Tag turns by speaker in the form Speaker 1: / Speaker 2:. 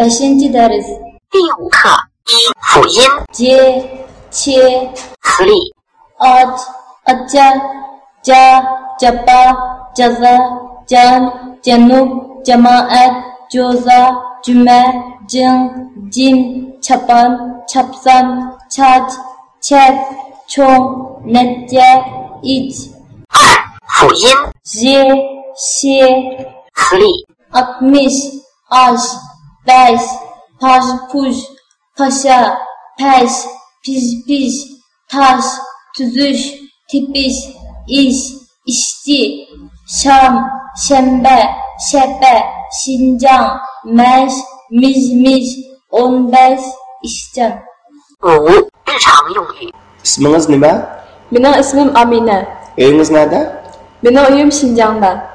Speaker 1: Beşinci ders.
Speaker 2: 第五课一辅音
Speaker 1: C, Ç,
Speaker 2: 词例
Speaker 1: Ac, Aca, Ca, Caba, Caza, Can, Cenub, Cemaat, Coza, Cüme, Cın, Cin, Çapan, Çapsan, Çaç, Çet, Çom, Netçe, İç,
Speaker 2: 二辅音
Speaker 1: J, Ş,
Speaker 2: 词例
Speaker 1: 60, aş, beş, paş, puş, paşa, peş, piş, piş, taş, tüzüş, tipiş, iş, işçi, şam, şembe, şepe, şincan, meş, miz, miz, on beş, işcan.
Speaker 2: 五日常用语
Speaker 3: İsminiz ne be?
Speaker 4: Benim ismim Amine.
Speaker 3: Eviniz nerede?
Speaker 4: Benim oyum Şincan'da.